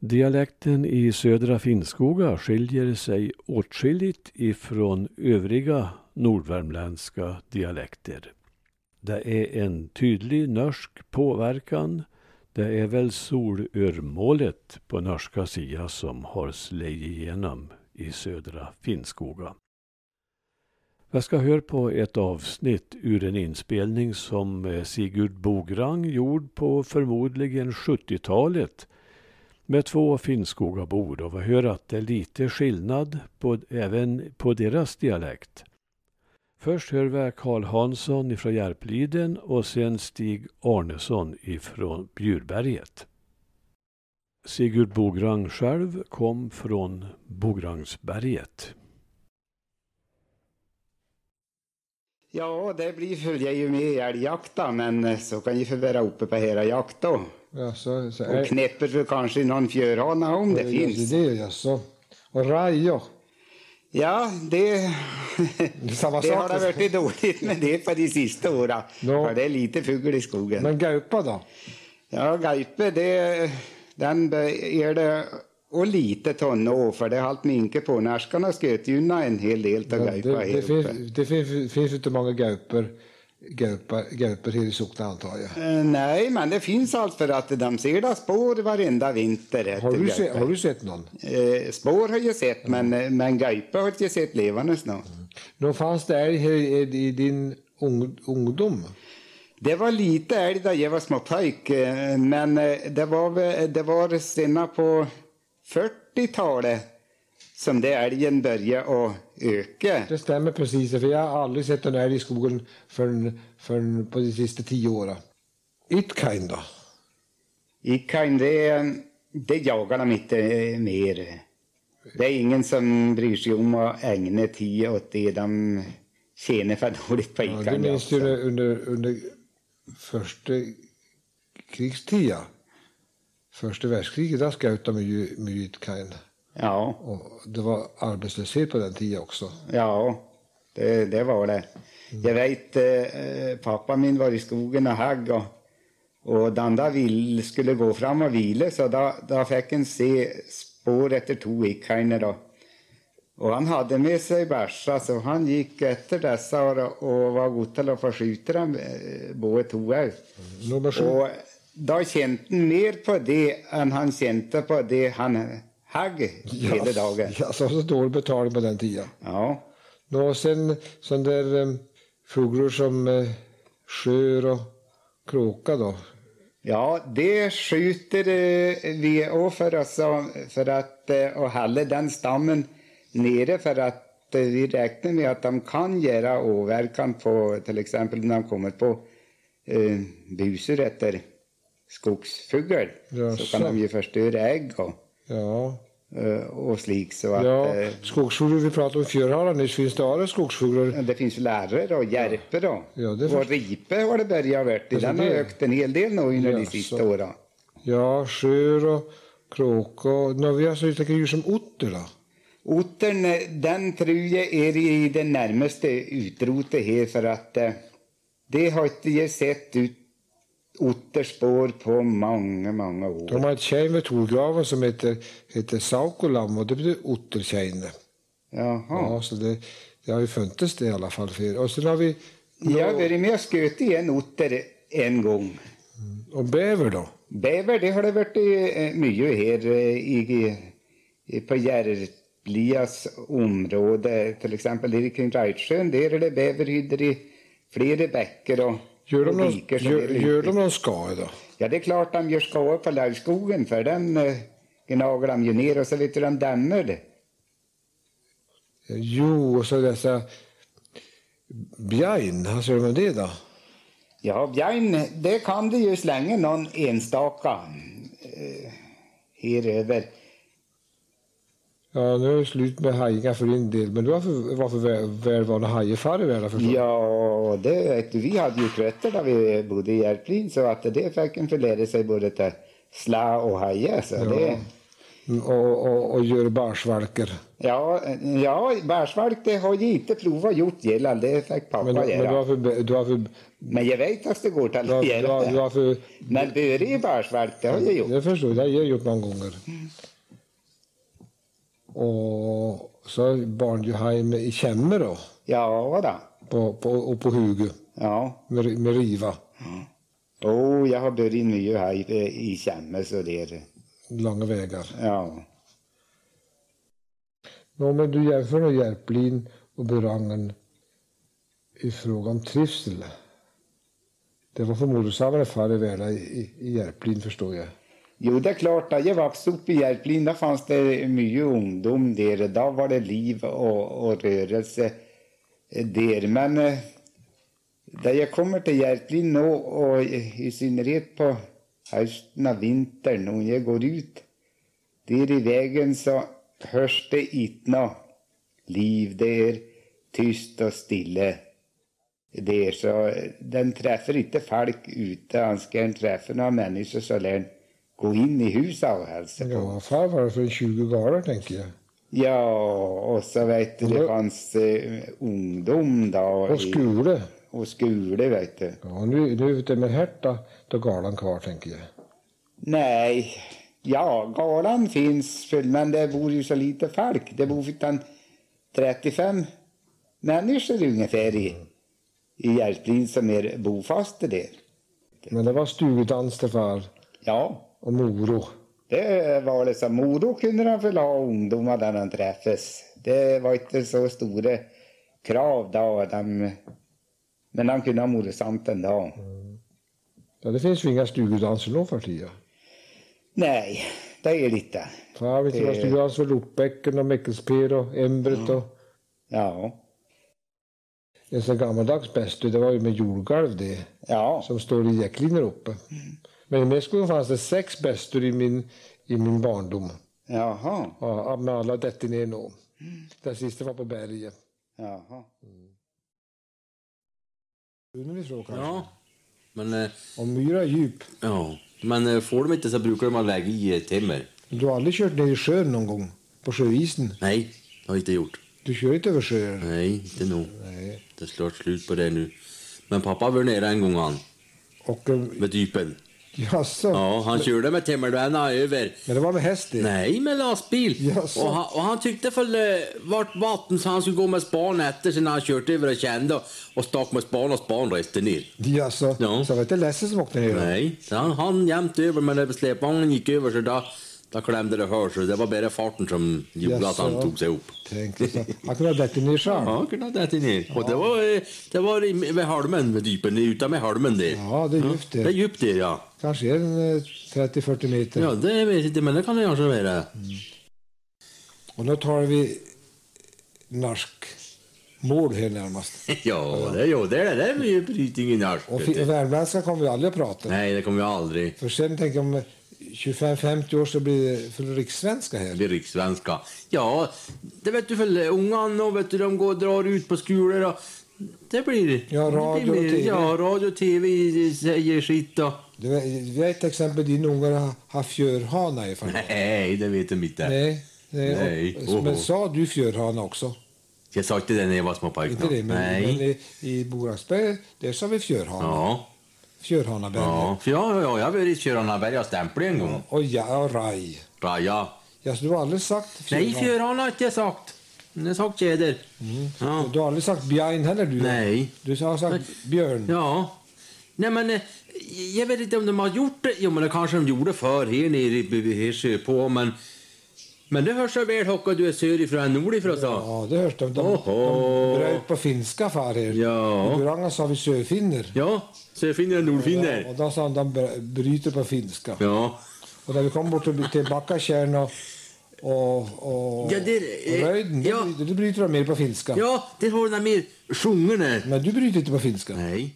Dialekten i södra Finnskoga skiljer sig åtskilligt ifrån övriga nordvärmländska dialekter. Det är en tydlig norsk påverkan. Det är väl solörmålet på norska sidan som har slagit igenom i södra Finnskoga. Jag ska höra på ett avsnitt ur en inspelning som eh, Sigurd Bograng gjord på förmodligen 70-talet med två Finnskogabor och vi hör att det är lite skillnad på, även på deras dialekt. Först hör vi Karl Hansson ifrån Järpliden och sen Stig Arnesson ifrån Bjurberget. Sigurd Bograng själv kom från Bograngsberget. Ja, det blir följer ju med älgjakt men eh, så kan ju förbära uppe på hela jakt då. Ja, så, så, Och knäpper för kanske någon fjörhane om det finns. Det är så. Och rajor. Ja, det, Det är samma det har sak. det varit dåligt med det på de sista åren. Ja. För det är lite fugel i skogen. Men gaupa då? Ja, Gaipe, det, den be- är det och lite tonå för det har allt minke på. Närskarna sköt ju en hel del av Det, Gaipa här uppe. det, finns, det finns, finns inte många gauper, gaupa, gauper här i socknen antar jag. Eh, Nej, men det finns allt för att de ser det spår varenda vinter. heter Har du, Gaipe. se, har du sett någon? Eh, spår har jag sett, men, eh, men Gaipe har jag inte sett levande snart. Nå fanns det älg här i, i din ung, ungdom? Det var lite älg där jag var småpojk, eh, men eh, det var, väl- det var sena på 40-talet som det älgen började att öka. Det stämmer precis, för jag har aldrig sett en älg i skogen förrän, förrän på de sista tio åren. It kind då? I Kain, det, det jagar de inte eh, mer. Det är ingen som bryr sig om att ägna tid åt det. De tjänar för dåligt på Ja, Ikan. alltså. det minns du under, under, under första krigstiden. Första världskriget, där sköt de ju med Jytkain. Ja, Och det var arbetslöshet på den tiden också. ja det, det var det. Jag vet, eh, pappa min var i skogen och högg och, och den där vill, skulle gå fram och vila så då, då fick en se spår efter två Ikainer då. Och han hade med sig bärsa så han gick efter dessa och, och var god till att förskjuta dem eh, båda två. Nummer sju. Och då kände han mer på det än han kände på det han högg hela dagen. Ja, så, så dålig betalning på den tiden. Ja. Nå, Och sen sån där um, fåglar som eh, skör och kråka då. Ja, det skjuter eh, vi och för oss och- för att eh, och hålla den stammen nere för att eh, vi räknar med att de kan göra åverkan på till exempel när de kommer på eh, busor efter skogsfågel. Ja, så så. kan de ju förstöra ägg och, Ja, eh, och slik så att ja. eh, skogsfåglar vi pratade om fjörhalar nyss. Finns det andra skogsfåglar? det finns lärare och järpe då. Ja, det och först- ripe har det börjat varit. Alltså, Den har det- ökat en hel del nu under Ja, de så. sista åren. Ja, skör och kråka. Nå, vi har så lite djur som otter då. Ottern, den tror jag är i det närmaste utrotet här för att eh, det har inte jag sett ut otterspår på många, många år. De har ett tjejn vid Torgraven som heter, heter Saukolam och det betyder ottertjejne. Jaha. Ja, så det, det har ju funnits det i alla fall. För. Och sen har vi Jag har varit med och skutit i en otter en gång. och bäver då. Bäver, det har det varit eh, mycket här eh, i, i, på Järvlias område. Till exempel här kring Rajtsjön, där är det bäverhyddor i flera bäckar och, Gör de och någon, diker som gör, är gör de någon skada då? Ja, det är klart de gör skåp på lövskogen för den eh, gnager de ju ner och så vet du de dämmer det. Jo, och så dessa björn, vad säger du om det då? Ja, björn, det kan du ju slänga någon enstaka eh, här över. Ja, nu är det slut med hajarna för din del, men du har för, varför väl, välvalda hajar förr i världen förstås? Ja, det vet du, vi hade ju krötter där vi bodde i Järplin så att det fick en förlära sig både till slä och haja. Så det, Mm, och, och, och gör barsvalker. Ja, ja bärsvalk det har jag inte provat gjort gälla. Det fick pappa Men, men göra. du har för, du har för, Men jag vet att det går till du har, att du göra har, du det. har för Men böre i bärsvalk, det har jag gjort. Det förstår jag, det har jag gjort många gånger. Och så barnjuheim i Kämme då, Ja, då. på, på, och på Hugo Ja. med, med riva, Oh, jag har börjat mycket här i, i Kämmes och det. långa vägar. Ja. Nå, men du jämför nu Järplin och Burangen i fråga om trivsel. Det var förmodligen samma förr i världen i, i Järplin förstår jag. Jo, det är klart. När jag växte upp i Järplin, där fanns det mycket ungdom där. Då var det liv och, och rörelse där. Men eh, när jag kommer till Järplin nu, och i synnerhet på hösten och vintern, och jag går ut där i vägen så hörs det inte något liv. Det är tyst och stille där. Så eh, den träffar inte folk ute. Han ska den träffa några människor så lär den gå in i huset och hälsa på. Ja, förr var det för 20 galor tänker jag. Ja, och så vet du, det fanns eh, ungdom då. Och i- Skule. och skole, vet du. Ja, nu, nu är vi ute med Herta, då är galan kvar tänker jag. Nej, ja, galan finns, för- men det bor ju så lite folk. Det bor utan 35 människor ungefär i, i Järplin som är bofasta där. Men det var stugdans det var Ja, och moro. Det var liksom, Modo kunde han väl ha ungdomar där de träffas. Det var inte så stora krav då. De, men han kunde ha morsamt ändå. Ja, det finns ju inga stugdanser nu för tiden. Nej, det är det inte. Fan, vi tror Det- att stugdans för Lokbäcken och Mäckelspir och Embret och Ja, en sån gammaldags bästu, det var ju med jordgalv det, ja, som står i jäcklinjer uppe. Men i Mässkogen fanns det sex bästur i min, i min barndom. jaha, Ja, med alla detta ner nu. Den sista var på berget. jaha. Underifrån kanske. Ja. Men, eh, Och myra är djup. ja. Men eh, får de inte så brukar de ha läge i eh, timmer. Du har aldrig kört ner i sjön någon gång? På sjöisen? Nej, det har jag inte gjort. Du kör inte över sjöar? Nej, inte nog. Nej. Det är snart slut på det nu. Men pappa var nere en gång han, Och, eh, med typen. jaså? Ja, han körde med timmerdöna över. Men det var med häst det? Nej, med lastbil. Jaså? Och han, och han tyckte väl eh, vart vatten så han skulle gå med span efter sen han kört över och kände och, och stack med span och span reste ner. Jaså? Ja. Så var det inte Lasse som åkte ner då? Nej, så han han jämt över men när släpvagnen gick över så då, då klämde det hör så det var bara farten som gjorde att han Jaså. tog sig upp. Tänk dig så. Han kunde ha dött ner själv. Ja, Ja. han kunde ha dätit ner. Och det var, eh, det var i- vid halmen, vid dypen, utan med halmen där. det är djupt Det är det. djupt det, ja. Kanske är den eh, 30-40 meter. Ja, det vet jag inte, men det kan det kanske vara. Mm. Och nu tar vi norsk mål här närmast. Ja, det, jo, det är det. Det är ju brytningen här. Och vet fi- du. värmländska kommer vi aldrig att prata. Nej, det kommer jag aldrig. För sen tänker jag om 25-50 år så blir det för rikssvenska här. blir rikssvenska. Ja, det vet du väl, ungarna och vet du, de går och drar ut på skolor och det blir... Ja, radio och det blir, TV. Ja, radio och tv säger sitt och... Du vet- Vi har ett exempel, din ungar har- har fjörhana i fall. Nej, det vet de inte. Nej. nej. Nej. Och, men Oho. sa du fjörhana också? Jag sa inte det när jag var småpojk. Inte det, men, Nej. men i, i Boraksberg, där sa vi fjörhana. Ja, Fjörhanaberg. ja. För jag, ja, jag har varit i Tjöranaberg och stämplat en gång. Och ja, och raj. Ja. Ja, Ja, så du har aldrig sagt fjörhana? Nej, Fjörana har inte jag sagt. Jag har sagt tjäder. Ja. Och Du har aldrig sagt björn heller? Du. Nej. Du har sagt björn. Ja. Nej, men eh, jag vet inte om de har gjort det. Jo, men det kanske de gjorde förr här nere i Hirsö på, men... Men det hörs så väl Håkan, du är söderifrån än nordifrån, så. Ja, det hörs de. De, de Oho. bröt på finska far här. Ja. I Buranga sa vi söfinner. Ja, söfinner och Ja, nordfinner. och då sa de de br- bryter på finska. Ja. Och när vi kom bort till- till Backatjärn och, och, och, Ja, det är- och Röjden, ja. då, bryter, då bryter de mer på finska. Ja, det har de där mer sjungande. Men du bryter inte på finska. Nej.